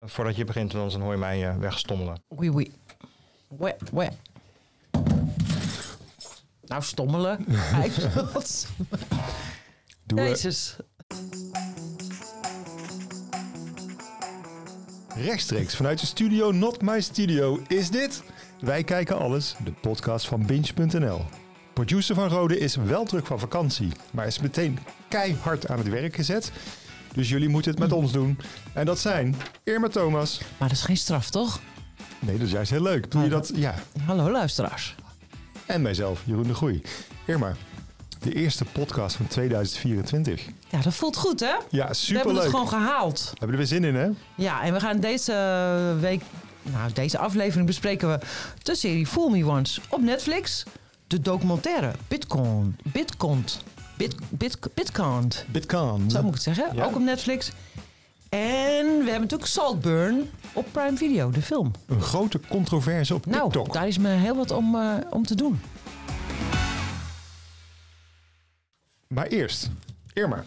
Voordat je begint, want dan hoor je mij eh, wegstommelen. Oei, oei. Wee, wee. Nou, stommelen. Ijsselts. Doe Jezus. Rechtstreeks vanuit de studio Not My Studio is dit Wij Kijken Alles, de podcast van Binge.nl. Producer van Rode is wel terug van vakantie, maar is meteen keihard aan het werk gezet. Dus jullie moeten het met ons doen. En dat zijn Irma Thomas. Maar dat is geen straf, toch? Nee, dat is juist heel leuk. Ah, Doe je dat? Ja. Hallo, luisteraars. En mijzelf, Jeroen de Groei. Irma, de eerste podcast van 2024. Ja, dat voelt goed, hè? Ja, We hebben het superleuk. gewoon gehaald. Hebben we er weer zin in, hè? Ja, en we gaan deze week, nou, deze aflevering bespreken we de serie Fool Me Once op Netflix. De documentaire Bitcoin. Bitcoin. Bit, bit, Bitcoin. Bitcoin. Zo moet ik het zeggen. Ja. Ook op Netflix. En we hebben natuurlijk Saltburn op Prime Video, de film. Een grote controverse op Nou, TikTok. daar is me heel wat om, eh, om te doen. Maar eerst, Irma.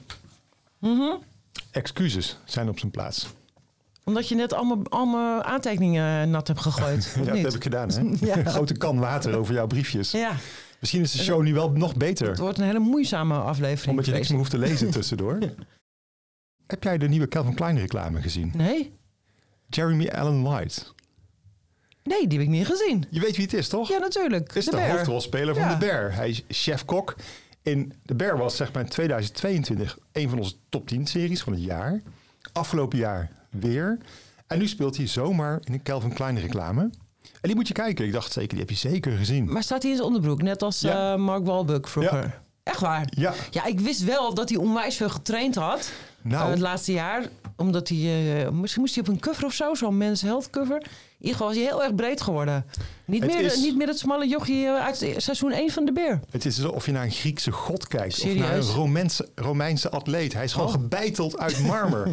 Excuses zijn op zijn plaats. Omdat je net allemaal, allemaal aantekeningen nat hebt gegooid. Ja, of dat niet? heb ik gedaan, hè? Ja. Grote kan water over jouw briefjes. Ja, Misschien is de show nu wel nog het beter, wordt een hele moeizame aflevering. omdat je niks meer geweest. hoeft te lezen tussendoor. Heb jij de nieuwe Calvin Klein reclame gezien? Nee? Jeremy Allen White. Nee, die heb ik niet gezien. Je weet wie het is, toch? Ja, natuurlijk. is de, Bear. hoofdrolspeler van Ja. de Bear. Hij is chef-kok. In de Bear was zeg maar in 2022 een van onze top 10 series van het jaar. Afgelopen jaar weer. En nu speelt hij zomaar in een Calvin Klein reclame. En die moet je kijken. Ik dacht zeker, die heb je zeker gezien. Maar staat hij in zijn onderbroek, net als Ja. eh, Mark Wahlberg vroeger? Echt waar? Ja, Ja, ik wist wel dat hij onwijs veel getraind had eh, nou, het laatste jaar. Omdat hij, eh, misschien moest hij op een cover of zo, zo'n Men's Health cover. In ieder geval was hij heel erg breed geworden. Niet, Het meer, is- niet meer dat smalle jochie eh, uit seizoen 1 van de Beer. het is alsof je naar een Griekse god kijkt. Of naar een Serieus? Romeinse, Romeinse atleet. Hij is gewoon Oh. gebeiteld uit marmer.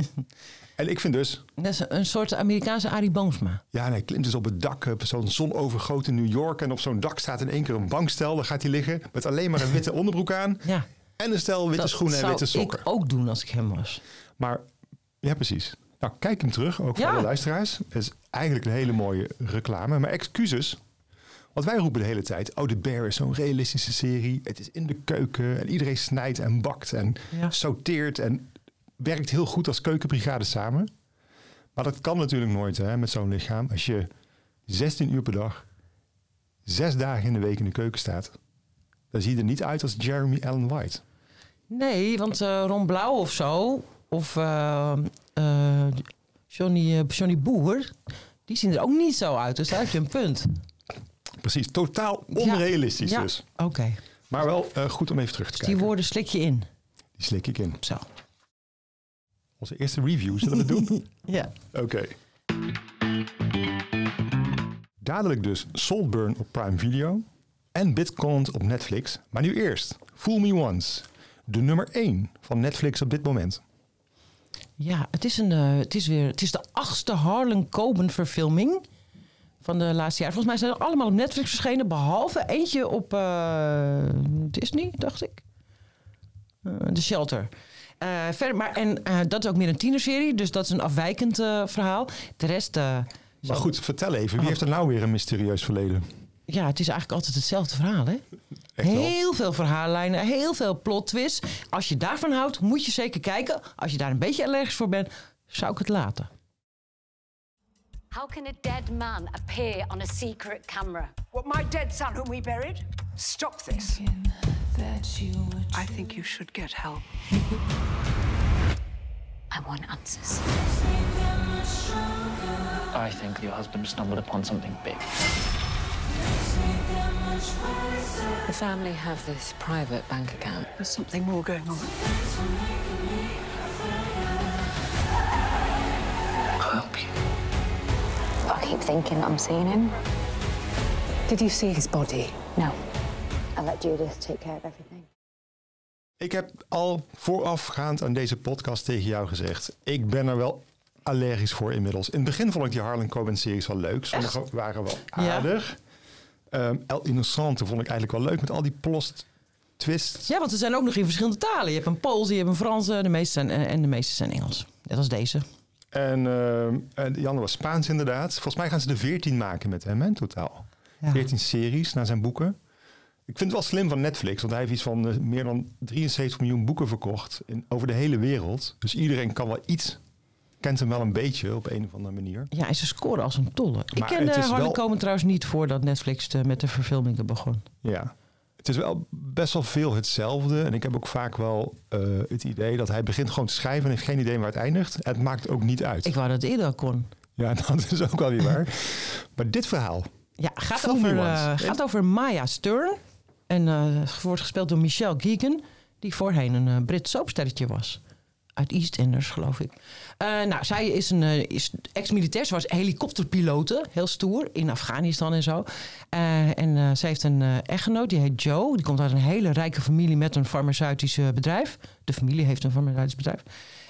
en ik vind dus, Net zo- een soort Amerikaanse Arie Boomsma. Ja, en hij klimt dus op het dak, eh, op zo'n zonovergoten New York. En op zo'n dak staat in één keer een bankstel. Daar gaat hij liggen met alleen maar een witte onderbroek aan. Ja, En een stel witte dat schoenen en zou witte sokken. ik ook doen als ik hem was. Maar, ja precies. Nou, kijk hem terug, ook Ja. voor de luisteraars. Het is eigenlijk een hele mooie reclame. Maar excuses, want wij roepen de hele tijd... Oh, The Bear is zo'n realistische serie. Het is in de keuken en iedereen snijdt en bakt en Ja. sorteert... en werkt heel goed als keukenbrigade samen. Maar dat kan natuurlijk nooit hè, met zo'n lichaam. Als je 16 uur per dag, zes dagen in de week in de keuken staat... dan zie je er niet uit als Jeremy Allen White. Nee, want eh Ron Blauw of zo, of eh, eh, Johnny, eh, Johnny Boer, die zien er ook niet zo uit. Dus daar heb je een punt. Precies, totaal onrealistisch Ja, dus. Oké, Maar wel eh, goed om even terug te dus die kijken. woorden slik je in. Die slik ik in. Zo. Onze eerste review, zullen we dat doen? Ja. Oké. Dadelijk dus Saltburn op Prime Video en Bitcoin op Netflix. Maar nu eerst Fool Me Once, de nummer 1 van Netflix op dit moment. Ja, het is, een, eh, het is weer het is de achtste Harlan Coben verfilming van de laatste jaar. Volgens mij zijn er allemaal op Netflix verschenen, behalve eentje op eh, Disney, dacht ik. Eh, The Shelter. Eh, verder, maar, en eh, dat is ook meer een tienerserie, dus dat is een afwijkend eh, verhaal. De rest, eh, Maar goed, vertel even, Ah. wie heeft er nou weer een mysterieus verleden? ja, het is eigenlijk altijd hetzelfde verhaal, hè? Echt wel? heel veel verhaallijnen, heel veel plot twists. Als je daarvan houdt, moet je zeker kijken. Als je daar een beetje allergisch voor bent, zou ik het laten. How can a dead man appear on a secret camera? What, my dead son whom we buried? Stop this. I think you should get help. I want answers. I think your husband stumbled upon something big. The family have this private bank account. There's something more going on. I keep thinking I'm seeing him. Did you see his body? No. I let Judith take care of everything. Ik heb al voorafgaand aan deze podcast tegen jou gezegd. Ik ben er wel allergisch voor inmiddels. In het begin vond ik die Harlan Coben-series wel leuk. Sommige waren wel Ja. aardig. Ehm, El Innocente vond ik eigenlijk wel leuk met al die plot twists. Ja, want ze eh, zijn ook nog in verschillende talen. Je hebt een Pools, je hebt een Franse, de meeste zijn, en de meeste zijn Engels. Net als deze. En, ehm, en die andere was Spaans inderdaad. Volgens mij gaan ze er 14 maken met hem hè, in totaal. Ja. 14 series naar zijn boeken. Ik vind het wel slim van Netflix, want hij heeft iets van eh, meer dan 73 miljoen boeken verkocht in, over de hele wereld. Dus iedereen kan wel iets, kent hem wel een beetje op een of andere manier. Ja, en ze scoren als een tolle. Ik Maar kende het is Harlan wel- Coben trouwens niet voordat Netflix eh, met de verfilmingen begon. Ja. Het is wel best wel veel hetzelfde. En ik heb ook vaak wel eh, het idee dat hij begint gewoon te schrijven en heeft geen idee waar het eindigt. Het maakt ook niet uit. Ik wou dat eerder kon. Ja, dat is ook wel weer waar. maar dit verhaal. Ja, gaat Veel over, nuance. eh, gaat over Maya Stern. En eh, wordt gespeeld door Michelle Keegan. Die voorheen een eh Brits soapsterretje was. Uit EastEnders, geloof ik. Eh, nou, zij is een eh, is ex-militair. Ze was helikopterpilote. Heel stoer. In Afghanistan en zo. Eh, en eh, ze heeft een eh, echtgenoot. Die heet Joe. Die komt uit een hele rijke familie met een farmaceutisch eh, bedrijf. De familie heeft een farmaceutisch bedrijf.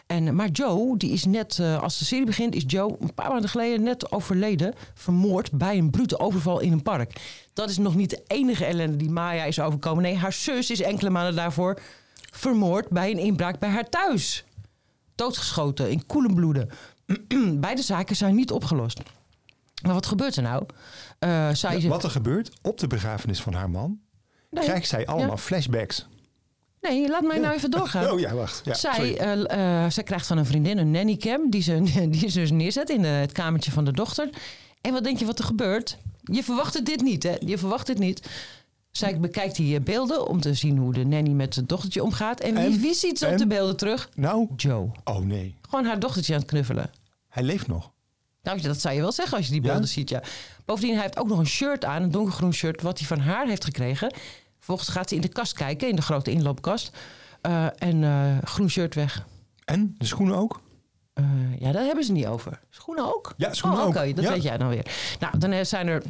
En, eh, maar Joe, die is net, eh, als de serie begint, is Joe een paar maanden geleden net overleden, vermoord bij een brute overval in een park. Dat is nog niet de enige ellende die Maya is overkomen. Nee, haar zus is enkele maanden daarvoor vermoord bij een inbraak bij haar thuis. Doodgeschoten in koelen bloeden. Beide zaken zijn niet opgelost. Maar wat gebeurt er nou? Eh, zij Wat er gebeurt op de begrafenis van haar man, Nee, krijgt zij allemaal ja. flashbacks. Nee, laat mij nou even doorgaan. Oh ja, wacht. Ja, zij, sorry. eh, eh, zij krijgt van een vriendin een nannycam. Die ze, die ze dus neerzet in de- het kamertje van de dochter. En wat denk je wat er gebeurt? Je verwacht het dit niet, hè? Je verwacht het niet. Zij bekijkt die eh, beelden om te zien hoe de nanny met het dochtertje omgaat. En wie, En- wie ziet ze op en- de beelden terug? Nou, Joe. oh nee, Gewoon haar dochtertje aan het knuffelen. hij leeft nog. Nou, dat zou je wel zeggen als je die Ja? beelden ziet, ja. Bovendien, hij heeft ook nog een shirt aan, een donkergroen shirt, wat hij van haar heeft gekregen. Vervolgens gaat ze in de kast kijken, in de grote inloopkast. Eh, en eh, groen shirt weg. En de schoenen ook? Eh, ja, daar hebben ze niet over. Schoenen ook? Ja, schoenen oh, ook. oké, dat Ja. weet jij dan weer. Nou, dan eh, zijn er...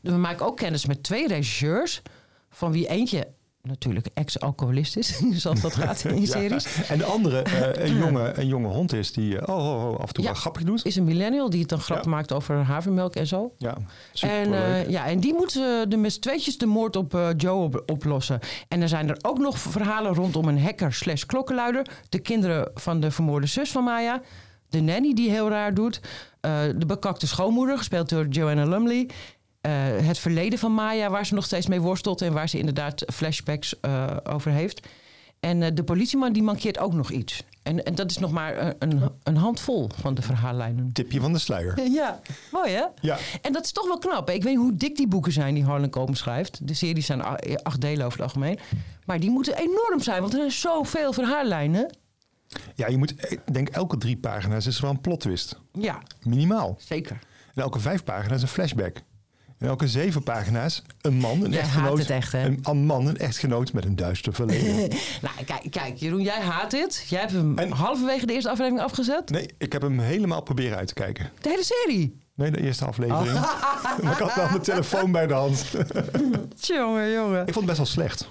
We maken ook kennis met twee regisseurs... van wie eentje natuurlijk ex-alcoholist is, zoals dat gaat in die series. En de andere, eh, een, jonge, een jonge hond is die eh, oh, oh, oh, af en toe Ja. wel grappig doet. Is een millennial die het dan grap Ja. maakt over havermelk en zo. Ja, En, superleuk. eh, ja, en die moeten de met z'n tweetjes de moord op eh, Joe op- oplossen. En er zijn er ook nog verhalen rondom een hacker slash klokkenluider. De kinderen van de vermoorde zus van Maya. De nanny die heel raar doet. eh, de bekakte schoonmoeder, gespeeld door Joanna Lumley. eh, het verleden van Maya, waar ze nog steeds mee worstelt... en waar ze inderdaad flashbacks eh, over heeft. En eh, de politieman die mankeert ook nog iets. En, en dat is nog maar eh, een, een handvol van de verhaallijnen. Tipje van de sluier. Ja, mooi hè? Ja. En dat is toch wel knap. Hè? Ik weet niet hoe dik die boeken zijn die Harlan Coben schrijft. De series zijn a- eh, acht delen over het algemeen. Maar die moeten enorm zijn, want er zijn zoveel verhaallijnen. ja, je moet, eh, ik denk elke drie pagina's is er wel een plot twist. Ja, Minimaal. zeker. En elke vijf pagina's een flashback. En elke zeven pagina's een man, een Jij haat echtgenoot. het echt, hè? Een, een man, een echtgenoot met een duister verleden. Nou, kijk, kijk, Jeroen, jij haat dit. Jij hebt hem En- halverwege de eerste aflevering afgezet. nee, ik heb hem helemaal proberen uit te kijken. De hele serie. Nee, de eerste aflevering. Oh. Maar ik had wel mijn telefoon bij de hand. Jongen, jongen. Ik vond het best wel slecht.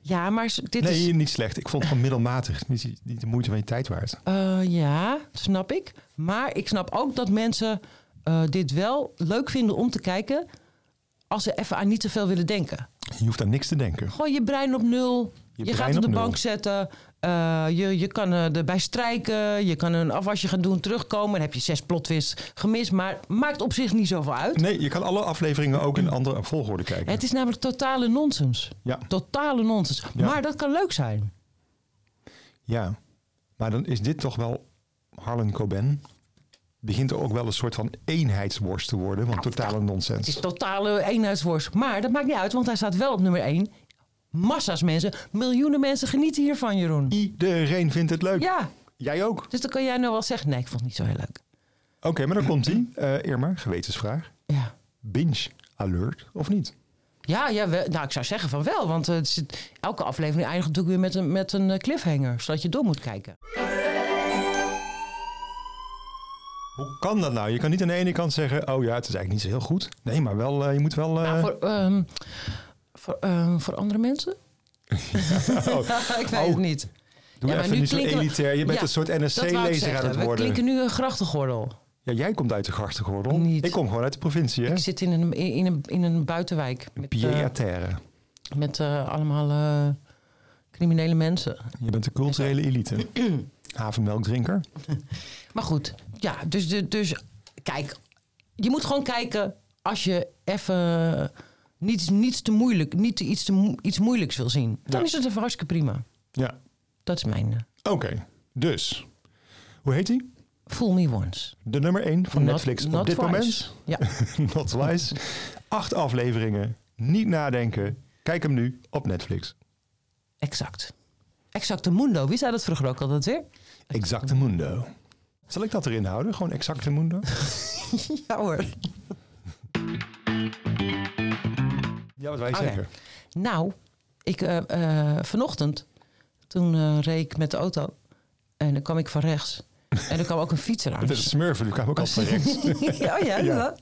Ja, maar s- dit nee, is... niet slecht. Ik vond het gewoon middelmatig. Niet, niet de moeite van je tijd waard. Eh, ja, snap ik. Maar ik snap ook dat mensen eh, dit wel leuk vinden om te kijken... als ze even aan niet te veel willen denken. Je hoeft aan niks te denken. Gewoon je brein op nul. Je, Je gaat brein op de op nul. bank zetten. Eh, je, je kan eh, erbij strijken. Je kan een afwasje gaan doen, terugkomen. Dan heb je zes plotwists gemist. Maar maakt op zich niet zoveel uit. Nee, je kan alle afleveringen ook in andere volgorde kijken. Het is namelijk totale nonsens. Ja. Totale nonsens. Ja. Maar dat kan leuk zijn. Ja, maar dan is dit toch wel Harlan Coben. Begint er ook wel een soort van eenheidsworst te worden, want totale Het is nonsens. totale eenheidsworst. Maar dat maakt niet uit, want hij staat wel op nummer één. Massa's mensen, miljoenen mensen genieten hiervan, Jeroen. Iedereen vindt het leuk. Ja, Jij ook. dus dan kan jij nou wel zeggen... Nee, ik vond het niet zo heel leuk. Oké, maar dan komt ie. Eh Irma, gewetensvraag. Ja. Binge alert of niet? Ja, ja wel- nou, ik zou zeggen van wel. Want eh, het zit- elke aflevering eindigt natuurlijk weer met een, met een eh, cliffhanger. Zodat je door moet kijken. Eh. Hoe kan dat nou? Je kan niet aan de ene kant zeggen, oh ja, het is eigenlijk niet zo heel goed. Nee, maar wel, eh, je moet wel... eh, Nou, voor, ehm, voor, ehm, voor andere mensen? ik weet het Oh. niet. doe ja, maar even nu niet zo klinken we- elitair. Je bent Ja, een soort Dat wou ik NSC-lezer aan zeggen. het We worden. klinken nu een grachtengordel. Ja, jij komt uit de grachtengordel. Niet. Ik kom gewoon uit de provincie, hè? Ik zit in een, in, in een, in een buitenwijk. Met, eh, Pied à terre. met eh, allemaal eh, criminele mensen. Je bent de culturele elite. Havenmelkdrinker. Maar goed, ja, dus, dus, dus kijk, je moet gewoon kijken als je even niets, niets te moeilijk, niet te- iets, te, mo- iets moeilijks wil zien. Dan Ja. is het even hartstikke prima. Ja. Dat is mijn eh, Oké, dus. Hoe heet hij? Fool Me Once. De nummer 1 van Not- Netflix op not dit twice. moment. Ja, Not Twice. Acht afleveringen. Niet nadenken. Kijk hem nu op Netflix. exact. Exacte Mundo. Wie zei dat vroeger ook altijd weer? Exactemundo. Zal ik dat erin houden? Gewoon Exactemundo? Ja hoor. Ja, wat wij Oké. zeggen. Nou, ik, eh, eh, vanochtend, toen eh, reed ik met de auto. En dan kwam ik van rechts. En er kwam ook een fietser aan. Het is smurfen, die kwamen Oh, ook al van rechts. ja, ja, ja.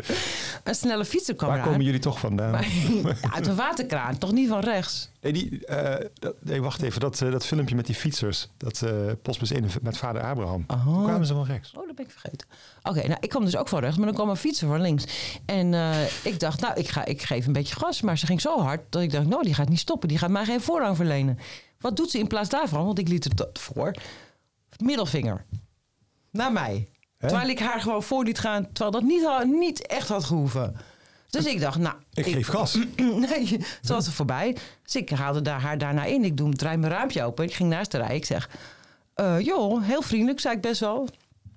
Een snelle fietser kwam Waar eraan. komen jullie toch vandaan? Ja, uit een waterkraan, toch niet van rechts? Nee, die, eh, dat- nee, wacht even. Dat, eh, dat filmpje met die fietsers. Dat eh postbus 1 met vader Abraham. Toen kwamen ze van rechts. Oh, dat ben ik vergeten. Oké, nou, ik kwam dus ook van rechts, maar dan kwam een fietser van links. En eh, ik dacht, nou, ik, ga, ik geef een beetje gas. Maar ze ging zo hard dat ik dacht, nou, die gaat niet stoppen. Die gaat mij geen voorrang verlenen. Wat doet ze in plaats daarvan? Want ik liet het dat voor. Middelvinger. Naar mij. Hè? Terwijl ik haar gewoon voor liet gaan, terwijl dat niet, ha- niet echt had gehoeven. Dus ik dacht, nou... Ik geef gas. Nee, ze was er voorbij. Dus ik haalde daar, haar daarna in. Ik doe, draai mijn raampje open. Ik ging naast haar rij. Ik zeg, eh, joh, heel vriendelijk, zei ik best wel.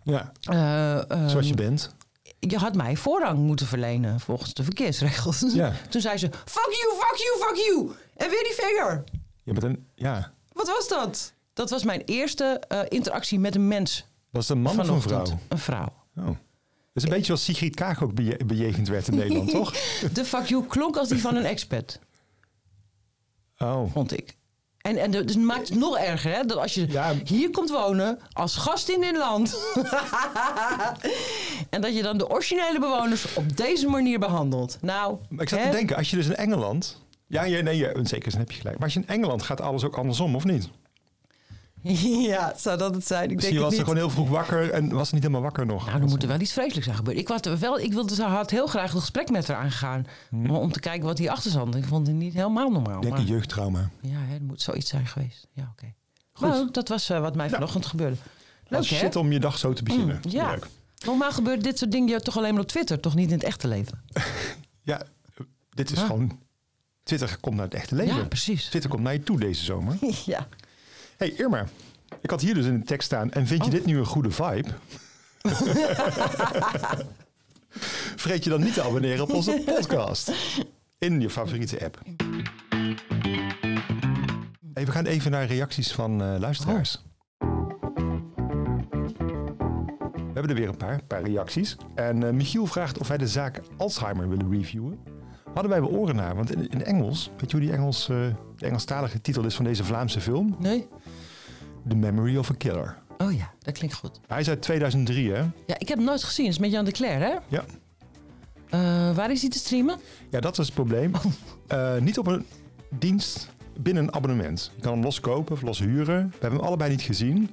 Ja, Eh, eh, zoals je bent. je had mij voorrang moeten verlenen volgens de verkeersregels. Ja. Toen zei ze, fuck you, fuck you, fuck you. En weer die vinger. Je bent een... Ja. Wat was dat? Dat was mijn eerste eh, interactie met een mens Was het een man of een vanochtend. vrouw? Een vrouw. Oh. Dat is een beetje als Sigrid Kaag ook beje- bejegend werd in Nederland, toch? De fuck you klonk als die van een expat, Oh. vond ik. En, en de- dus het maakt het nog erger, hè? Dat als je Ja. hier komt wonen als gast in dit land. en dat je dan de originele bewoners op deze manier behandelt. Nou, Maar ik zat te hè? denken, als je dus in Engeland... Ja, ja nee, ja, zeker, dan heb je gelijk. Maar als je in Engeland gaat alles ook andersom, of niet? Ja, zou dat het zijn? Ik denk Misschien was het ze niet. gewoon heel vroeg wakker en was niet helemaal wakker nog. Nou, er moet er wel iets vreselijks aan gebeuren. Ik, was er wel, ik wilde, ze had heel graag een gesprek met haar aangegaan. Maar om te kijken wat hierachter zat. Ik vond het niet helemaal normaal. Ik Hmm. denk een maar- jeugdtrauma. ja, hè, er moet zoiets zijn geweest. Ja, oké. Maar goed, dat was eh, wat mij vanochtend gebeurde. Leuk, Als hè? Nou. Mm, shit om je dag zo te beginnen. Ja. Leuk. Normaal gebeurt dit soort dingen jou toch alleen maar op Twitter. Toch niet in het echte leven. Ja, eh, dit is Ja. gewoon... Twitter komt naar het echte leven. Ja, precies. Twitter komt naar je toe deze zomer. ja. hey, Irma. Ik had hier dus in de tekst staan. En vind je dit nu een goede vibe? Vergeet je dan niet te abonneren op onze podcast. In je favoriete app. Hey, we gaan even naar reacties van eh, luisteraars. We hebben er weer een paar, een paar reacties. En eh, Michiel vraagt of wij de zaak Alzheimer willen reviewen. Hadden wij wel oren naar, want in, in Engels, weet je hoe die Engels, eh, de Engelstalige titel is van deze Vlaamse film? Nee? The Memory of a Killer. Oh ja, dat klinkt goed. Hij is uit 2003, hè? Ja, ik heb hem nooit gezien. Het is met Jan de Cler, hè? Ja. Eh, waar is hij te streamen? Ja, dat is het probleem. Eh, niet op een dienst binnen een abonnement. Je kan hem los kopen of los huren. We hebben hem allebei niet gezien.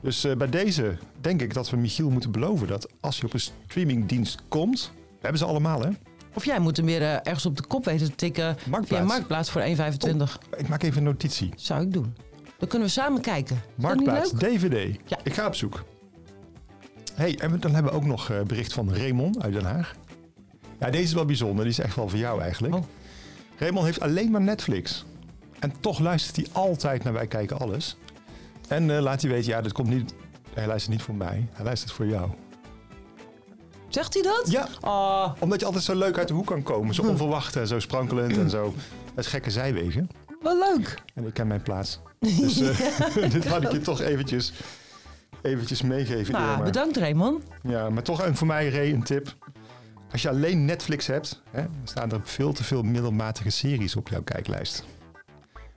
Dus eh, bij deze denk ik dat we Michiel moeten beloven dat als je op een streamingdienst komt... We hebben ze allemaal, hè? Of jij moet hem weer eh, ergens op de kop weten te tikken. Via Marktplaats. Marktplaats voor 1,25. Ik maak even een notitie. Zou ik doen. Dan kunnen we samen kijken. Is dat niet Marktplaats, leuk? DVD. Ja. Ik ga op zoek. hey, en we- dan hebben we ook nog eh, bericht van Raymond uit Den Haag. Ja, deze is wel bijzonder. Die is echt wel voor jou eigenlijk. Oh. Raymond heeft alleen maar Netflix. En toch luistert hij altijd naar Wij Kijken Alles. En eh, laat hij weten, ja, dat komt niet... Hij luistert niet voor mij, hij luistert voor jou. Zegt hij dat? Ja, Ah, omdat je altijd zo leuk uit de hoek kan komen. Hm. Zo onverwacht en zo sprankelend en zo. Het gekke zijwegen. wat leuk. En ik ken mijn plaats. Dus eh, dit had ik je toch eventjes, eventjes meegeven. Nou, Irma. bedankt Raymond. Ja, maar toch een, voor mij Ray, een tip. Als je alleen Netflix hebt, hè, dan staan er veel te veel middelmatige series op jouw kijklijst.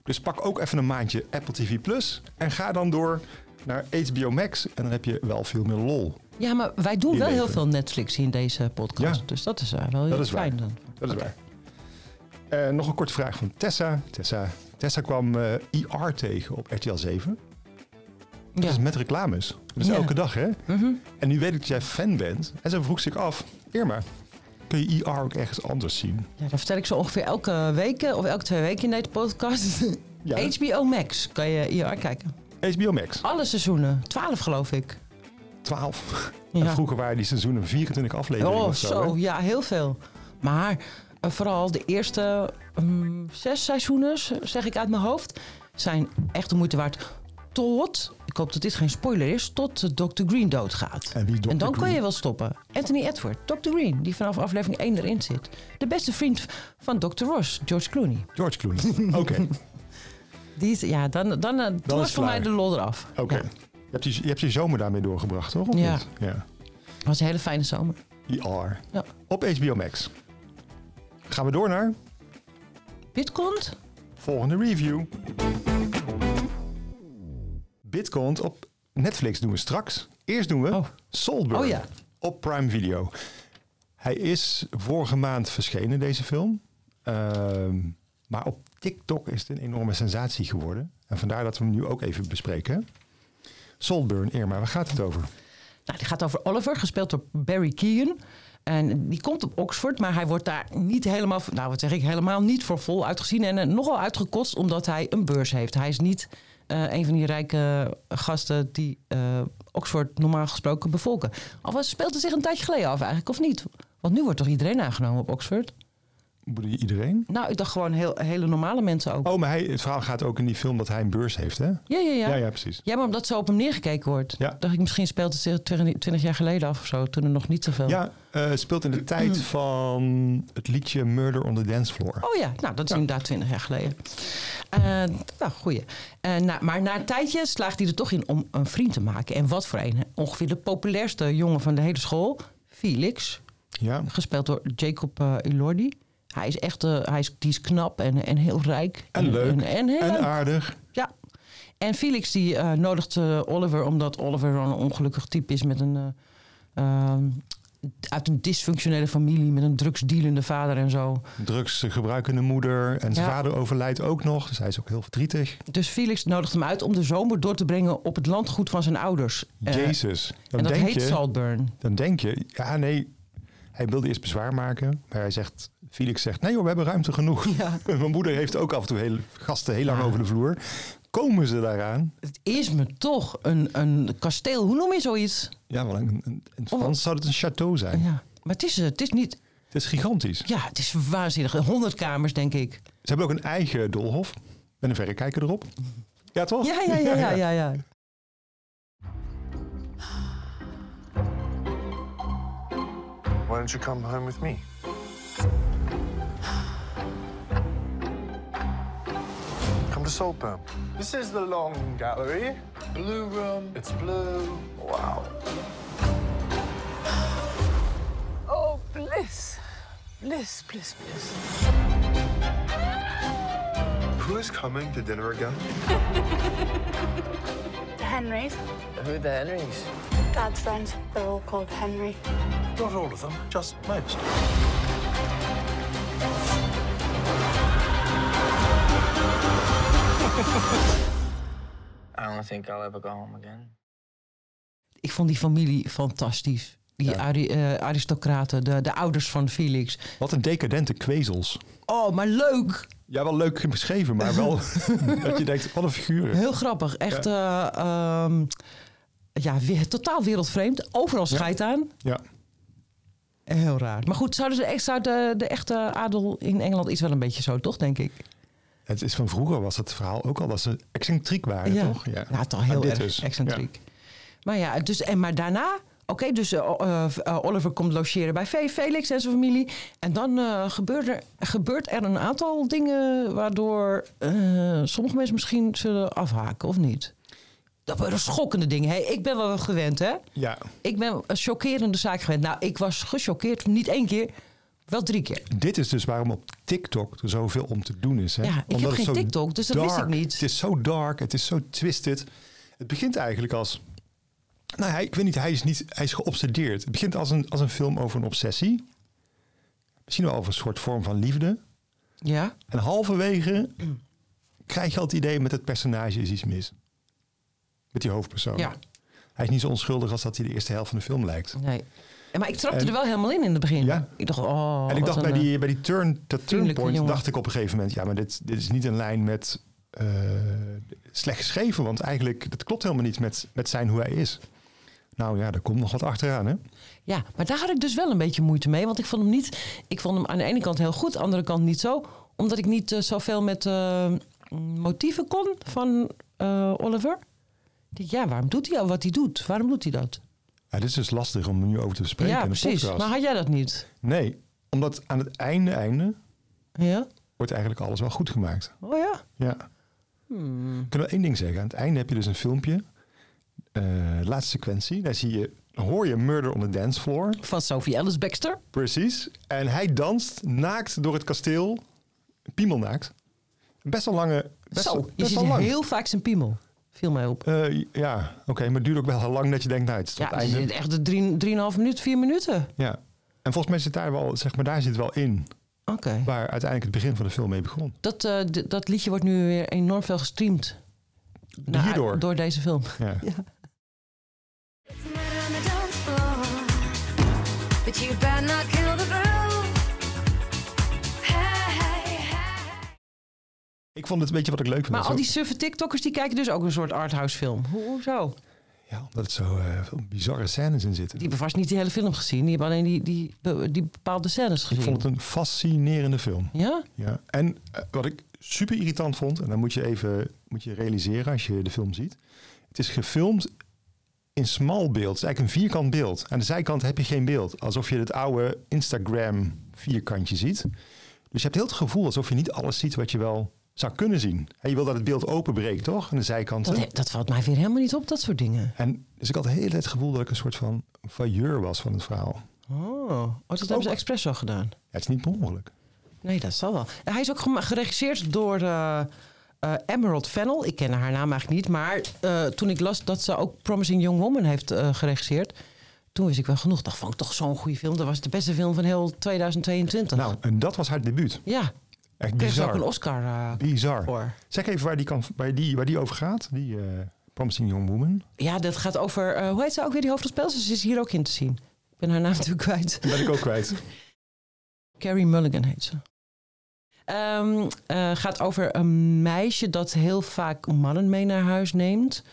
Dus pak ook even een maandje Apple TV Plus en ga dan door naar HBO Max. En dan heb je wel veel meer lol. Ja, maar wij doen Je wel heel leven. veel Netflix in deze podcast. Ja. Dus dat is eh, wel heel Dat is waar. fijn dan. Dat is waar. Eh, nog een korte vraag van Tessa. Tessa, Tessa kwam eh, IR tegen op RTL 7. Dat Ja. is met reclames. Dat is Ja. Mhm. elke dag, hè? En nu weet ik dat jij fan bent. En ze vroeg zich af, Irma, kun je IR ook ergens anders zien? ja, dat vertel ik zo ongeveer elke week eh, of elke twee weken in deze podcast. Ja, HBO Max kan je hier kijken. HBO Max. Alle seizoenen, 12 geloof ik. 12. Ja. En vroeger waren die seizoenen 24 afleveringen Oh, of zo. zo, hè? ja, heel veel. Maar eh, vooral de eerste mm, zes seizoenen, z- zeg ik uit mijn hoofd, zijn echt de moeite waard. Tot, ik hoop dat dit geen spoiler is, tot eh, Dr. Green doodgaat. En wie Dr. En dan Green? kan je wel stoppen. Anthony Edward, Dr. Green, die vanaf aflevering 1 erin zit. De beste vriend van Dr. Ross, George Clooney. George Clooney. Oké, Die is, ja, dan, dan, eh, toen het was voor mij klaar. de lol eraf. oké. Ja, Je, hebt je, je hebt je zomer daarmee doorgebracht, hoor? Of Ja. niet? Ja. was een hele fijne zomer. ER. Ja. Op HBO Max. Gaan we door naar Bitcoin? volgende review. Bitcoin op Netflix doen we straks. Eerst doen we Oh. Soulburn Oh ja. op Prime Video. Hij is vorige maand verschenen, deze film. Ehm, maar op TikTok is het een enorme sensatie geworden. En vandaar dat we hem nu ook even bespreken. Soulburn, Irma, waar gaat het over? Nou, die gaat over Oliver, gespeeld door Barry Keegan. En die komt op Oxford, maar hij wordt daar niet helemaal, nou wat zeg ik, helemaal niet voor vol uitgezien. En eh, nogal uitgekotst omdat hij een beurs heeft. Hij is niet eh, een van die rijke gasten die eh, Oxford normaal gesproken bevolken. Al was, speelt het zich een tijdje geleden af eigenlijk, of niet? Want nu wordt toch iedereen aangenomen op Oxford? Bedoel je iedereen? Nou, ik dacht gewoon heel, hele normale mensen ook. Oh, maar hij, het verhaal gaat ook in die film dat hij een beurs heeft, hè? Ja, ja, ja. Ja, ja, precies. Ja, maar omdat zo op hem neergekeken wordt. Ja. Dacht ik, misschien speelt het zich 20 jaar geleden af of zo. Toen er nog niet zoveel... Ja, eh, het speelt in de Mm. tijd van het liedje Murder on the Dance Floor. Oh ja, nou, dat is inderdaad 20 jaar geleden. Eh, nou, goeie. Eh, na- maar na een tijdje slaagt hij er toch in om een vriend te maken. En wat voor een? hè? Ongeveer de populairste jongen van de hele school, Felix. Ja, Gespeeld door Jacob eh Elordi. Hij is echt eh, hij is, die is knap en, en heel rijk. en leuk. En, en heel en leuk. aardig. Ja. En Felix die eh, nodigt eh, Oliver omdat Oliver een ongelukkig type is met een. eh, ehm, uit een dysfunctionele familie met een drugsdealende vader en zo. Drugs gebruikende moeder. En zijn Ja. vader overlijdt ook nog. Dus hij is ook heel verdrietig. Dus Felix nodigt hem uit om de zomer door te brengen op het landgoed van zijn ouders. Eh, Jezus. Dan en dat denk heet je, Saltburn. Dan denk je, ja nee, hij wilde eerst bezwaar maken. Maar hij zegt, Felix zegt, nee joh, we hebben ruimte genoeg. Mijn moeder heeft ook af en toe heel, gasten heel lang over de vloer. Komen ze daaraan? Het is me toch een, een kasteel. Hoe noem je zoiets? Ja, wel een, een, in het Frans zou het een château zijn. Ja. Maar het is, eh, het is niet. Het is gigantisch. Ja, het is waanzinnig. 100 kamers, denk ik. Ze hebben ook een eigen doolhof. Met een verrekijker erop. Oh. Ja, toch? Ja, ja, ja, ja, ja. ja. Why don't you come home with me? Come to Saltburn. This is the long gallery. Blue room. It's blue. Wow. Oh, bliss. Bliss, bliss, bliss. Who is coming to dinner again? The Henrys. Who the Henrys? Dad's friends. They're all called Henry. Not all of them, just most. I don't think I'll ever go home again. Ik vond die familie fantastisch. Die ari- eh, aristocraten, de, de ouders van Felix. Wat een decadente kwezels. Oh, maar leuk. Ja, wel leuk beschreven, maar wel dat je denkt, wat een figuren. Heel grappig. Echt, ja, ja weer, totaal wereldvreemd. Overal schijt aan. Ja. Heel raar. Maar goed, zouden ze echt, zou de, de echte adel in Engeland is wel een beetje zo, toch, denk ik? Het is van vroeger was het verhaal ook al dat ze excentriek waren, toch? ja. toch heel Maar dit erg dus. excentriek. Maar ja, dus, en, maar daarna... Oké, dus eh, eh, eh, Oliver komt logeren bij Fe- Felix en zijn familie. En dan eh, gebeurt, er, gebeurt er een aantal dingen waardoor eh, sommige mensen misschien zullen afhaken, of niet? Dat waren schokkende dingen. Hey, ik ben wel gewend, hè? Ja. ja. Ik ben een chockerende zaak gewend. Nou, ik was gechoqueerd. Niet één keer, wel drie keer. Dit is dus waarom op TikTok er zoveel om te doen is. Hè? Ja, ik heb het geen zo TikTok, dus dat wist ik dark- niet. Het is zo dark, het is zo twisted. Het begint eigenlijk als... Nou, hij, ik weet niet, hij is, niet, hij is geobsedeerd. Het begint als een, als een film over een obsessie. Misschien wel over een soort vorm van liefde. Ja? En halverwege krijg je al het idee met het personage is iets mis. Met die hoofdpersoon. Ja. Hij is niet zo onschuldig als dat hij de eerste helft van de film lijkt. Nee. En Maar ik trapte En- er wel helemaal in in het begin. Ja. Ik dacht, oh. en ik wat dacht bij een, die, bij die turn, dat vriendelijke turnpoint, jongen. dacht ik op een gegeven moment... ja, maar dit, dit is niet in lijn met eh, slecht geschreven. Want eigenlijk, dat klopt helemaal niet met, met zijn hoe hij is. Nou ja, daar komt nog wat achteraan, hè? Ja, maar daar had ik dus wel een beetje moeite mee. Want ik vond hem niet. Ik vond hem aan de ene kant heel goed, aan de andere kant niet zo. Omdat ik niet eh, zoveel met eh, motieven kon van eh, Oliver. Ik dacht, Ja, waarom doet hij al wat hij doet? Waarom doet hij dat? Ja, dit is dus lastig om nu over te bespreken ja, in de precies. podcast. Maar had jij dat niet? Nee, omdat aan het einde, einde Ja? wordt eigenlijk alles wel goed gemaakt. Oh ja. Ja. Hmm. Ik kan wel één ding zeggen. Aan het einde heb je dus een filmpje. eh, laatste sequentie. Daar zie je, hoor je Murder on the Dance Floor. Van Sophie Ellis Baxter. Precies. En hij danst naakt door het kasteel. Piemelnaakt. Best wel lange... Best, zo, wel- je best ziet wel lang. heel vaak zijn piemel. Viel mij op. Eh, ja, oké. maar het duurt ook wel heel lang dat je denkt, nou, het is tot Ja, het er zit einde. echt de drie- 3,5 minuten, 4 minuten. Ja. En volgens mij zit daar wel, zeg maar, daar zit wel in. Oké. Waar uiteindelijk het begin van de film mee begon. Dat, eh, d- dat liedje wordt nu weer enorm veel gestreamd. Nou, Hierdoor. Door deze film. Ja. But you better not kill the groove. Hey, hey. Ik vond het, weet je wat ik leuk vind? Maar Dat al zo- die suffe TikTokkers die kijken dus ook een soort arthouse film. Ho- Hoezo? Ja, omdat het zo eh, veel bizarre scènes in Die zitten. hebben vast niet die hele film gezien. Die hebben alleen die, die, be- die bepaalde scènes gezien. Ik vond het een fascinerende film. Ja? Ja. En eh, wat ik super irritant vond, en dan moet je even moet je realiseren als je de film ziet. Het is gefilmd in smal beeld. Het is eigenlijk een vierkant beeld. Aan de zijkant heb je geen beeld. Alsof je het oude Instagram vierkantje ziet. Dus je hebt heel het gevoel alsof je niet alles ziet wat je wel zou kunnen zien. En je wil dat het beeld openbreekt, toch? Aan de zijkanten. Dat, dat valt mij weer helemaal niet op, dat soort dingen. En dus ik had de hele tijd het gevoel dat ik een soort van failleur was van het verhaal. Oh, oh dat hebben ze expres al gedaan. Ja, het is niet per ongeluk. Nee, dat zal wel. Hij is ook gema- geregisseerd door eh, eh, Emerald Fennel. Ik ken haar naam eigenlijk niet. Maar eh, toen ik las dat ze ook Promising Young Woman heeft eh, geregisseerd... toen wist ik wel genoeg. Dat vond ik toch zo'n goede film. Dat was de beste film van heel 2022. Nou, en dat was haar debuut. Ja, Echt kreeg ze ook een bizar. Oscar eh, Bizar. voor. Zeg even waar die, kan, waar die, waar die over gaat, die eh Promising Young Woman. Ja, dat gaat over... eh, hoe heet ze ook weer, die hoofdrolspel? Ze is hier ook in te zien. Ik ben haar naam natuurlijk kwijt. Die ben ik ook kwijt. Carrie Mulligan heet ze. Ehm, eh, gaat over een meisje dat heel vaak mannen mee naar huis neemt.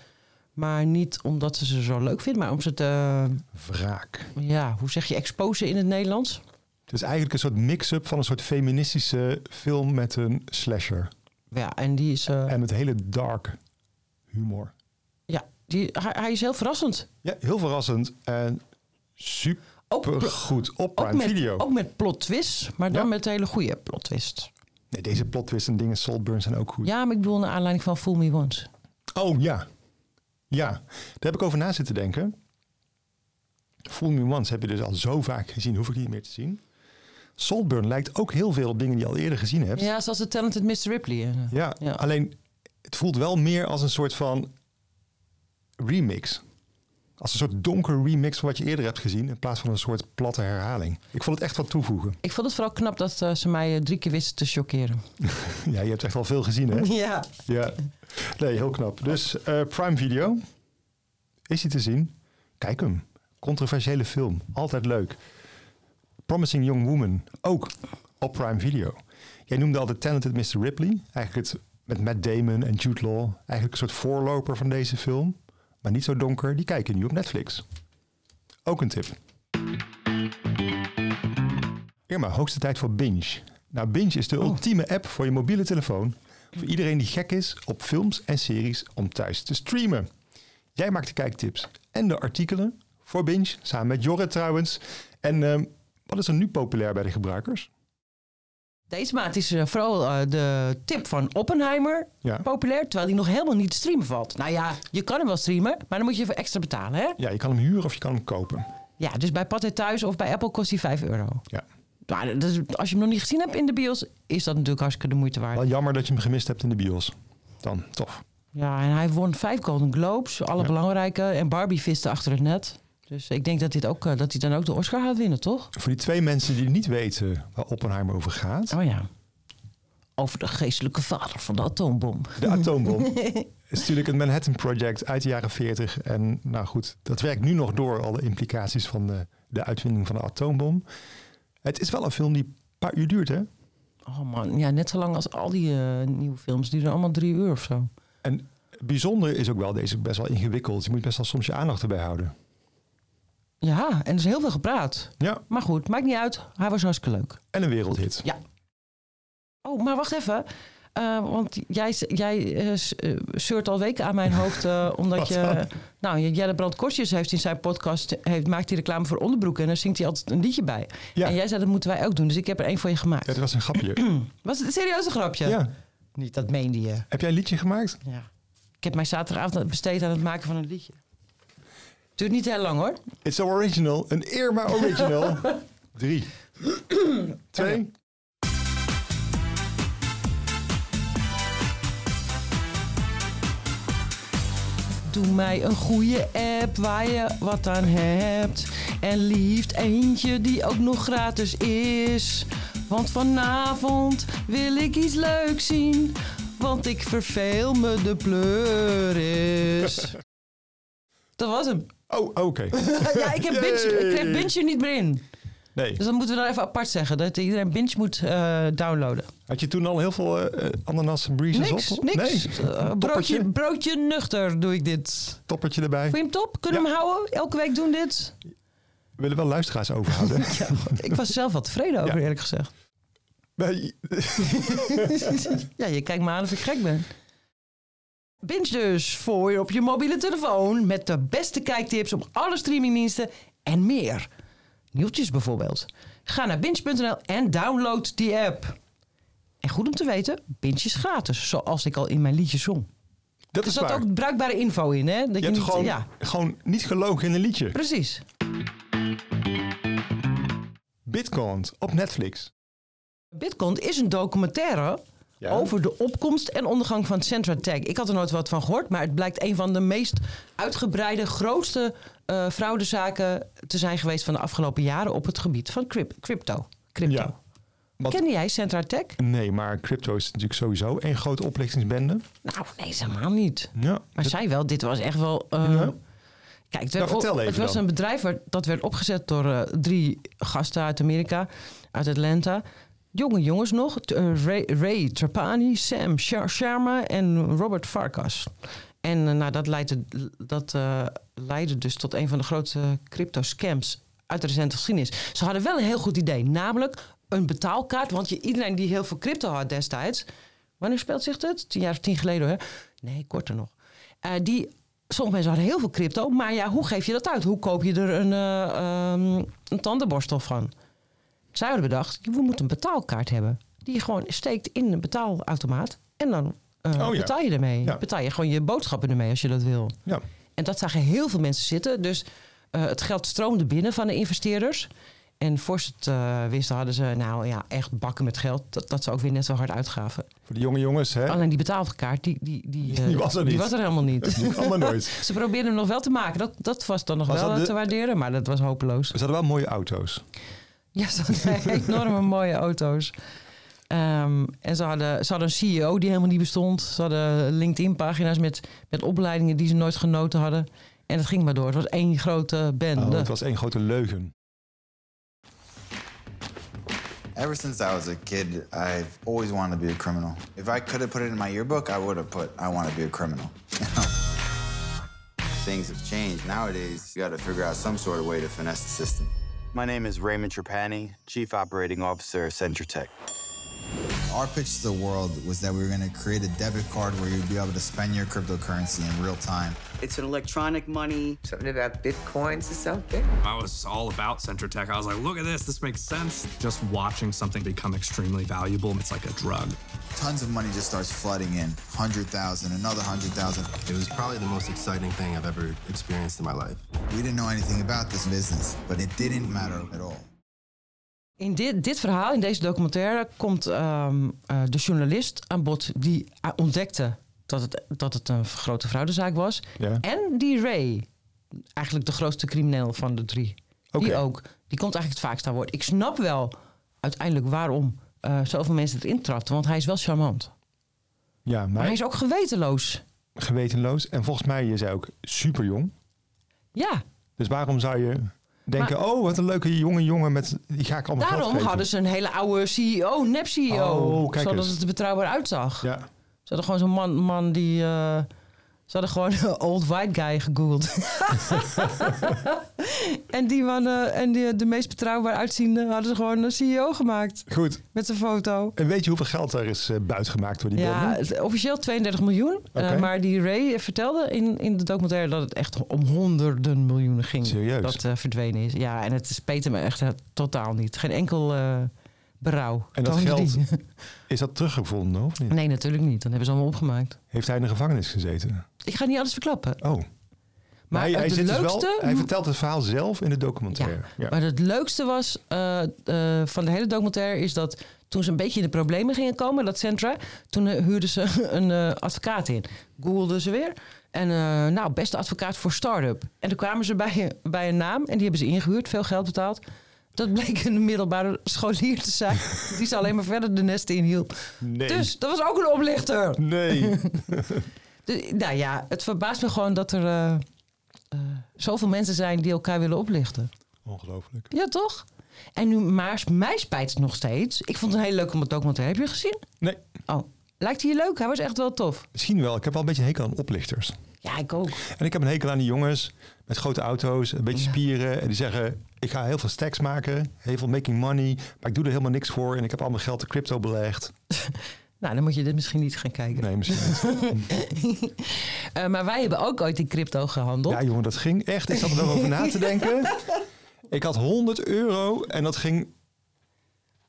Maar niet omdat ze ze zo leuk vindt, maar om ze te... Wraak. ja, hoe zeg je exposen in het Nederlands? Het is eigenlijk een soort mix-up van een soort feministische film met een slasher. Ja, en die is... eh, En met hele dark humor. ja, die, hij, hij is heel verrassend. Ja, heel verrassend en super Ook, pl- goed op ook, Prime met, Video. ook met plot twist, maar dan Ja. met hele goede plot twist. Nee, deze plot twists en dingen, Saltburn zijn ook goed. Ja, maar ik bedoel naar aanleiding van Fool Me Once. Oh ja. Ja, daar heb ik over na zitten denken. Full Me Once heb je dus al zo vaak gezien, hoef ik niet meer te zien. Saltburn lijkt ook heel veel op dingen die je al eerder gezien hebt. Ja, zoals de Talented Mr. Ripley. eh. Ja, Ja. alleen het voelt wel meer als een soort van remix. Als een soort donker remix van wat je eerder hebt gezien, in plaats van een soort platte herhaling. Ik vond het echt wat toevoegen. Ik vond het vooral knap dat eh, ze mij eh, drie keer wisten te chockeren. Ja, je hebt echt al veel gezien, hè? Ja. Ja, nee, heel knap. Dus eh, Prime Video, is hij te zien? Kijk hem. Controversiële film, altijd leuk. Promising Young Woman, ook op Prime Video. Jij noemde al The Talented Mr. Ripley. Eigenlijk het, met Matt Damon en Jude Law. Eigenlijk een soort voorloper van deze film. Maar niet zo donker. Die kijken nu op Netflix. Ook een tip. Irma, hoogste tijd voor Binge. Nou, Binge is de ultieme app voor je mobiele telefoon. Voor iedereen die gek is op films en series om thuis te streamen. Jij maakt de kijktips en de artikelen voor Binge, samen met Jorrit trouwens. En ehm, wat is er nu populair bij de gebruikers? Deze maand is eh, vooral eh, de tip van Oppenheimer Ja. populair, terwijl die nog helemaal niet te streamen valt. Nou ja, je kan hem wel streamen, maar dan moet je even extra betalen, hè? Ja, je kan hem huren of je kan hem kopen. Ja, dus bij Pathé Thuis of bij Apple kost die 5 euro. Ja. Maar dat is- als je hem nog niet gezien hebt in de bios, is dat natuurlijk hartstikke de moeite waard. Wel jammer dat je hem gemist hebt in de bios. Dan, toch. Ja, en hij won vijf Golden Globes, alle belangrijke. En Barbie viste achter het net. Dus ik denk dat, dit ook, eh, dat hij dan ook de Oscar gaat winnen, toch? Voor die twee mensen die niet weten waar Oppenheimer over gaat. Oh ja. Over de geestelijke vader van de atoombom. De atoombom. is natuurlijk het Manhattan Project uit de jaren 40. En nou goed, dat werkt nu nog door, alle implicaties van de, de uitvinding van de atoombom. Het is wel een film die een paar uur duurt, hè? Oh man, ja, net zo lang als al die eh, nieuwe films. Die duren allemaal drie uur of zo. En bijzonder is ook wel, deze is best wel ingewikkeld. Je moet best wel soms je aandacht erbij houden. Ja, en er is heel veel gepraat. Ja. Maar goed, maakt niet uit. Hij was hartstikke leuk. En een wereldhit. Ja. Oh, maar wacht even. Eh, want jij, jij eh, s- eh, zeurt al weken aan mijn hoofd. eh, omdat Wat je. Nou, J- Jelle Brand Kostjes heeft in zijn podcast. Heeft, maakt hij reclame voor onderbroeken. En daar zingt hij altijd een liedje bij. Ja. En jij zei dat moeten wij ook doen. Dus ik heb er één voor je gemaakt. Het was een grapje. Was het een serieuze grapje? ja. Niet, dat meende je. Heb jij een liedje gemaakt? Ja. Ik heb mij zaterdagavond besteed aan het maken van een liedje. Duurt niet heel lang hoor. It's so original. Een Irma original. Drie. Twee. Doe mij een goede app waar je wat aan hebt. En liefst eentje die ook nog gratis is. Want vanavond wil ik iets leuks zien. Want ik verveel me de pleuris. Dat was hem. Oh, oké. Ja, ik, heb binge, ik krijg binge er niet meer in. Nee. Dus dat moeten we dan even apart zeggen. Dat iedereen binge moet eh, downloaden. Had je toen al heel veel eh, eh, ananas en breezes Niks, op? niks. Nee. Eh, broodje, Toppertje, broodje nuchter doe ik dit. toppertje erbij. Vond je hem top? Kunnen we hem houden? Elke week doen dit? We willen wel luisteraars overhouden. Ja, ik was er zelf wel tevreden over, Ja. eerlijk gezegd. Nee. ja, je kijkt me aan of ik gek ben. Binge dus voor je op je mobiele telefoon met de beste kijktips op alle streamingdiensten en meer. Nieuwtjes bijvoorbeeld. Ga naar binge.nl en download die app. En goed om te weten, Binge is gratis, zoals ik al in mijn liedje zong. Dat Er is zat waar. ook bruikbare info in, hè? Dat je hebt niet- gewoon, Ja, gewoon niet gelogen in een liedje. precies. Bitcoin op Netflix. Bitcoin is een documentaire Ja. over de opkomst en ondergang van Centra Tech. Ik had er nooit wat van gehoord, maar het blijkt een van de meest uitgebreide, grootste eh, fraudezaken te zijn geweest van de afgelopen jaren op het gebied van cryp- crypto. crypto. Ja. Want- Kende jij Centra Tech? Nee, maar crypto is natuurlijk sowieso een grote oplichtingsbende. Nou, nee, ze helemaal niet. Ja. Maar zij wel, dit was echt wel. eh, Ja. Kijk, het, werd Nou, vertel op- even het was dan. een bedrijf waar- dat werd opgezet door eh, drie gasten uit Amerika, uit Atlanta. Jonge jongens nog, t- eh, Ray, Ray Trapani, Sam Sha- Sharma en Robert Farkas. En eh, nou, dat, leidde, dat eh, leidde dus tot een van de grootste crypto-scams uit de recente geschiedenis. Ze hadden wel een heel goed idee, namelijk een betaalkaart. Want je, iedereen die heel veel crypto had destijds... Wanneer speelt zich dit? Tien jaar of tien geleden, hè? Nee, korter nog. Eh, die, sommige mensen hadden heel veel crypto, maar ja, hoe geef je dat uit? Hoe koop je er een, eh, ehm, een tandenborstel van? Zij hadden bedacht, we moeten een betaalkaart hebben. Die je gewoon steekt in een betaalautomaat en dan eh, Oh ja. betaal je ermee. Ja. Betaal je gewoon je boodschappen ermee als je dat wil. Ja. En dat zagen heel veel mensen zitten. Dus eh, het geld stroomde binnen van de investeerders. En voor ze het eh, wisten hadden ze, nou ja, echt bakken met geld. Dat, dat ze ook weer net zo hard uitgaven. Voor de jonge jongens, hè? Alleen die betaalkaart, die, die, die, eh, Die was er niet. helemaal niet. Die kwam er nooit. Ze probeerden hem nog wel te maken. Dat, dat was dan nog Was wel dat de- te waarderen, maar dat was hopeloos. Ze hadden wel mooie auto's. Ja, ze hadden enorme mooie auto's. Ehm, en ze hadden, ze hadden een CEO die helemaal niet bestond. Ze hadden LinkedIn-pagina's met, met opleidingen die ze nooit genoten hadden. En het ging maar door. Het was één grote Oh, bende. het was één grote leugen. Ever since I was a kid, I've always wanted to be a criminal. If I could have put it in my yearbook, I would have put, I want to be a criminal. Things have changed. Nowadays, you got to figure out some sort of way to finesse the system. My name is Raymond Trapani, Chief Operating Officer of Centratech. Our pitch to the world was that we were going to create a debit card where you'd be able to spend your cryptocurrency in real time. It's an electronic money. Something about bitcoins or something? I was all about Centratech. I was like, look at this, this makes sense. Just watching something become extremely valuable, it's like a drug. Tons of money just starts flooding in 100,000, another 100,000. It was probably the most exciting thing I've ever experienced in my life. We didn't know anything about this business, but it didn't matter at all. In dit, dit verhaal, in deze documentaire, komt ehm, eh, de journalist aan bod die eh, ontdekte dat het, dat het een grote fraudezaak was. Ja. En die Ray, eigenlijk de grootste crimineel van de drie. Die Oké. ook. Die komt eigenlijk het vaakst aan woord. Ik snap wel uiteindelijk waarom eh, zoveel mensen erin trapten, want hij is wel charmant. Ja, Maar maar hij is ook gewetenloos. gewetenloos. En volgens mij is hij ook super jong. Ja, Dus waarom zou je... denken, Maar- oh, wat een leuke jonge jongen met die ga ik allemaal geld Daarom geven. hadden ze een hele oude E CEO, nep-CEO. Oh, kijk zodat eens. het er betrouwbaar uitzag. Ja. Ze hadden gewoon zo'n man, man die... eh, ze hadden gewoon old white guy gegoogeld. en die man, eh, en die, de meest betrouwbaar uitziende, hadden ze gewoon een CEO gemaakt. Goed. Met zijn foto. En weet je hoeveel geld daar is eh, buitgemaakt door die Ja, Bill? het- officieel 32 miljoen. eh, Oké. maar die Ray vertelde in, in de documentaire dat het echt om honderden miljoenen ging. Serieus? Dat eh, verdwenen is. Ja, en het speet me echt eh, totaal niet. Geen enkel eh berouw. En dat Toonde geld, die. is dat teruggevonden of niet? Nee, natuurlijk niet. Dan hebben ze allemaal opgemaakt. Heeft hij in de gevangenis gezeten? Ik ga niet alles verklappen. Oh. Maar hij, hij het zit dus leukste... wel, hij vertelt het verhaal zelf in de documentaire. Ja. Maar het leukste was eh, eh, van de hele documentaire is dat toen ze een beetje in de problemen gingen komen, dat Centra, toen eh, huurden ze een eh, advocaat in. Googelden ze weer. En eh, nou, beste advocaat voor start-up. En toen kwamen ze bij, eh, bij een naam en die hebben ze ingehuurd, veel geld betaald. Dat bleek een middelbare scholier te zijn, die ze alleen maar verder de nesten inhield. Nee. Dus dat was ook een oplichter. Nee. Dus, nou ja, het verbaast me gewoon dat er eh, eh, zoveel mensen zijn die elkaar willen oplichten. Ongelooflijk. Ja, toch? En nu, maar mij spijt het nog steeds. Ik vond het een hele leuke documentaire. Heb je hem gezien? Nee. Oh, lijkt hij je leuk? Hij was echt wel tof. Misschien wel. Ik heb wel een beetje een hekel aan oplichters. Ja, ik ook. En ik heb een hekel aan die jongens met grote auto's, een beetje spieren. En die zeggen, ik ga heel veel stacks maken, heel veel making money. Maar ik doe er helemaal niks voor en ik heb al mijn geld in crypto belegd. Nou, dan moet je dit misschien niet gaan kijken. Nee, misschien niet. Eh, maar wij hebben ook ooit in crypto gehandeld. Ja jongen, dat ging echt. Ik zat er wel over na te denken. Ik had 100 euro en dat ging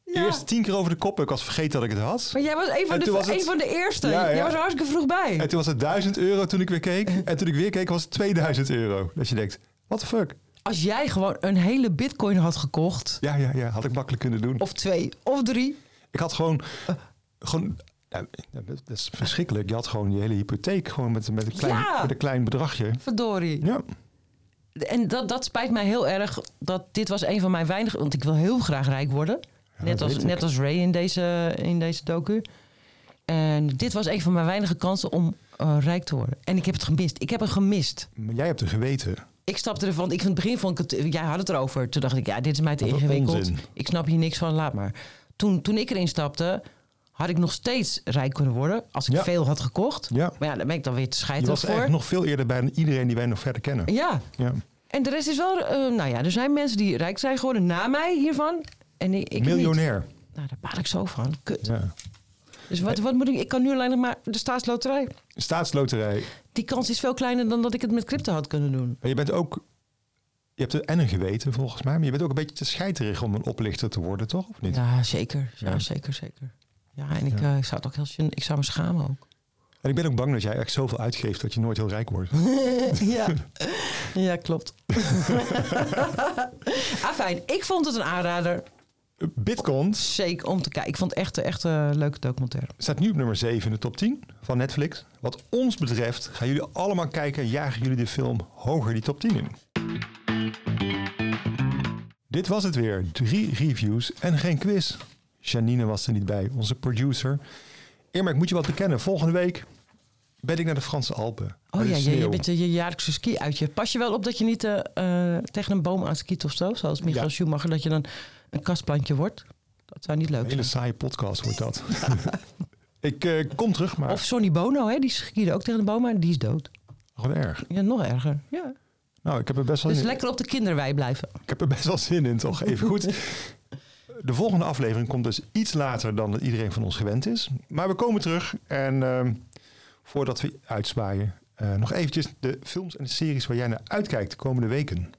eerst tien keer over de kop. Ik was vergeten dat ik het had. Maar jij was een van, En de, toen was een het- van de eerste. Ja, ja. Jij was er hartstikke vroeg bij. En toen was het 1000 euro toen ik weer keek. En toen ik weer keek was het 2000 euro. Dat je denkt, what the fuck? Als jij gewoon een hele bitcoin had gekocht. Ja, ja, ja. Had ik makkelijk kunnen doen. Of twee, of drie. Ik had gewoon... eh, gewoon nou, dat is verschrikkelijk. Je had gewoon die hele hypotheek gewoon met, met, een, klein, Ja. met een klein bedragje. Verdorie. Ja. En dat, dat spijt mij heel erg. Dat dit was een van mijn weinige. Want ik wil heel graag rijk worden. net, dat als, weet ik. net als Ray in deze, in deze docu. En dit was een van mijn weinige kansen om eh, rijk te worden. En ik heb het gemist. Ik heb het gemist. Maar jij hebt er geweten. Ik stapte ervan. Ik van het begin vond ik het. Jij had het erover. Toen dacht ik, ja, dit is mij te Wat een ingewikkeld. onzin. Ik snap hier niks van. Laat maar. Toen, toen ik erin stapte, had ik nog steeds rijk kunnen worden. Als ik Ja. veel had gekocht. Ja. Maar ja, daar ben ik dan weer te Je scheiterig was voor. echt nog veel eerder bij dan iedereen die wij nog verder kennen. Ja. Ja. En de rest is wel, eh, nou ja, er zijn mensen die rijk zijn geworden na mij hiervan. En ik, ik Miljonair. niet. Nou, daar baal ik zo van. Kut. Ja. Dus wat, wat moet ik? Ik kan nu alleen nog maar de staatsloterij. Staatsloterij. Die kans is veel kleiner dan dat ik het met crypto had kunnen doen. Maar je bent ook... Je hebt er en een geweten volgens mij. Maar je bent ook een beetje te scheiterig om een oplichter te worden, toch? Of niet? Ja, zeker. Ja, Ja. zeker, zeker. Ja, en ik, eh, ik zou het ook heel zin, ik zou me schamen ook. En ik ben ook bang dat jij echt zoveel uitgeeft dat je nooit heel rijk wordt. ja. ja, klopt. Afijn, ik vond het een aanrader. Bitcoin Zeker om te kijken. Ik vond het echt, echt een leuke documentaire. staat nu op nummer 7 in de top 10 van Netflix. Wat ons betreft gaan jullie allemaal kijken en jagen jullie de film hoger die top 10 in. Dit was het weer. Drie reviews en geen quiz. Janine was er niet bij, onze producer. Irma, ik moet je wat bekennen. Volgende week ben ik naar de Franse Alpen. Oh Bij de ja, je, je sneeuw. bent eh, je jaarlijkse ski-uitje. Pas je wel op dat je niet eh, eh, tegen een boom aan skiet of zo? Zoals Michael Ja. Schumacher, dat je dan een kastplantje wordt. Dat zou niet Een leuk hele zijn. saaie podcast wordt dat. ik eh, kom terug, maar... Of Sonny Bono, hè, die skiede ook tegen een boom, maar die is dood. Gewoon erg. Ja, nog erger. Ja. Nou, ik heb er best wel Dus zin in. lekker op de kinderwei blijven. Ik heb er best wel zin in, toch? Even goed. De volgende aflevering komt dus iets later dan dat iedereen van ons gewend is. Maar we komen terug. En ehm, voordat we uitspaaien, eh, nog eventjes de films en de series waar jij naar uitkijkt de komende weken.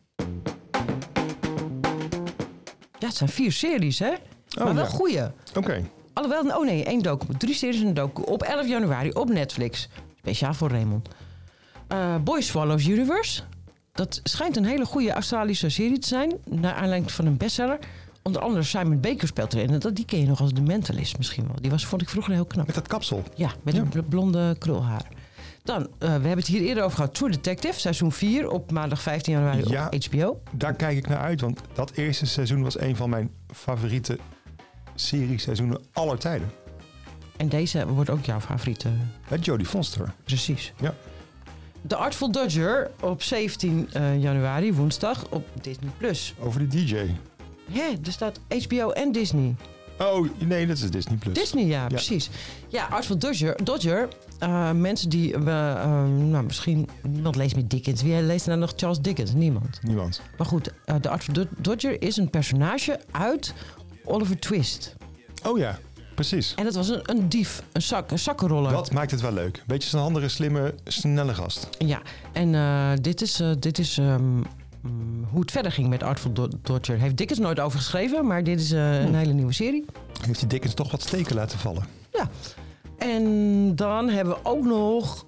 Ja, het zijn vier series, hè? maar wel Oh, ja. goeie. Oké, Alhoewel, oh nee, één docu. Drie series en een docu. Op 11 januari op Netflix. Speciaal voor Raymond. Eh Boy Swallows Universe. Dat schijnt een hele goede Australische serie te zijn. Naar aanleiding van een bestseller. Onder andere Simon Baker speelt erin. En dat, die ken je nog als de mentalist misschien wel. Die was, vond ik vroeger heel knap. met dat kapsel. Ja, met een bl- blonde krulhaar. Dan, eh, we hebben het hier eerder over gehad. True Detective, seizoen 4 op maandag 15 januari Ja. op HBO. Daar kijk ik naar uit, want dat eerste seizoen was een van mijn favoriete serieseizoenen aller tijden. En deze wordt ook jouw favoriete. Met Jodie Foster. Precies. Ja. The Artful Dodger op 17 eh, januari, woensdag, op Disney+. Plus. Over de DJ. Hé, er staat HBO en Disney. Oh, nee, dat is Disney Plus. Disney, ja, Dus- Ja. precies. Ja, Artful Dodger. Dodger eh, mensen die... we, eh, nou, misschien... Niemand leest meer Dickens. Wie leest er nou nog Charles Dickens? Niemand. Niemand. Maar goed, eh, de Artful Do- Dodger is een personage uit Oliver Twist. Oh ja, precies. En dat was een, een dief, een, zak, een zakkenroller. Dat maakt het wel leuk. Beetje zo'n handige, slimme, snelle gast. Ja, en eh, dit is, eh, dit is ehm, mm, hoe het verder ging met Artful Do- Dodger. Heeft Dickens nooit over geschreven, maar dit is eh, een hele nieuwe serie. Heeft die Dickens toch wat steken laten vallen. En dan hebben we ook nog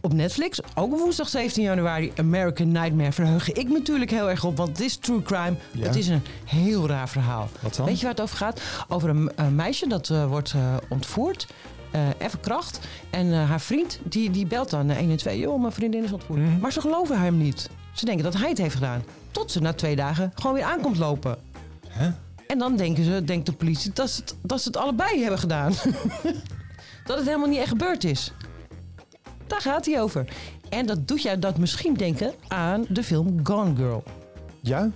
op Netflix, ook op woensdag 17 januari, American Nightmare. Verheug ik me natuurlijk heel erg op, want dit is true crime. Ja. Het is een heel raar verhaal. Wat dan? Weet je waar het over gaat? Over een, een meisje dat eh, wordt eh, ontvoerd. eh even kracht. En eh, haar vriend die, die belt dan eh, 1 en 2. Joh, mijn vriendin is ontvoerd. Maar ze geloven hem niet. Ze denken dat hij het heeft gedaan. Tot ze na twee dagen gewoon weer aankomt lopen. En dan denken ze, denkt de politie, dat ze het, dat ze het allebei hebben gedaan. dat het helemaal niet echt gebeurd is. Daar gaat hij over. En dat doet jou dat misschien denken aan de film Gone Girl. Ja?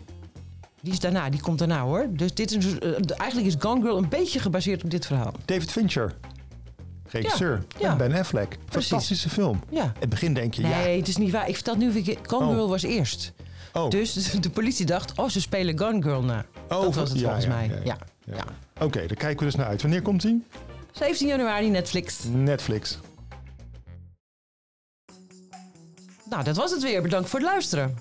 Die is daarna, die komt daarna hoor. Dus dit is, eh, eigenlijk is Gone Girl een beetje gebaseerd op dit verhaal. David Fincher. Regisseur. Ja, ja. En Ben Affleck. Fantastische film. Ja. Het begin denk je, Nee, ja. het is niet waar. Ik vertel het nu weer. Gone Oh. Girl was eerst. Oh. Dus de politie dacht, oh, ze spelen Gone Girl na. dat was het ja, volgens ja, mij. ja, Ja, ja. Ja. Oké, daar kijken we dus naar uit. Wanneer komt die? 17 januari Netflix. Netflix. Nou, dat was het weer. Bedankt voor het luisteren.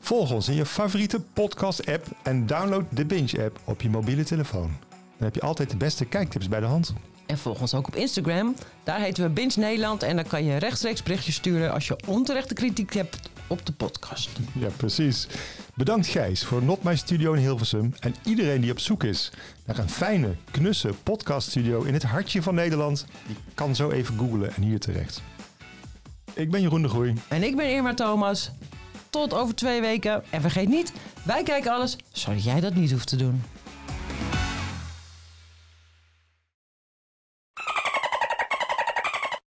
Volg ons in je favoriete podcast-app en download de Binge-app op je mobiele telefoon. Dan heb je altijd de beste kijktips bij de hand. En volg ons ook op Instagram. Daar heten we Binge Nederland. En dan kan je rechtstreeks berichtjes sturen als je onterechte kritiek hebt op de podcast. Ja, precies. Bedankt Gijs voor Not My Studio in Hilversum en iedereen die op zoek is naar een fijne, knusse podcaststudio in het hartje van Nederland. Die kan zo even googlen en hier terecht. Ik ben Jeroen de Groei. En ik ben Irma Thomas. Tot over twee weken. En vergeet niet, wij kijken alles zodat jij dat niet hoeft te doen.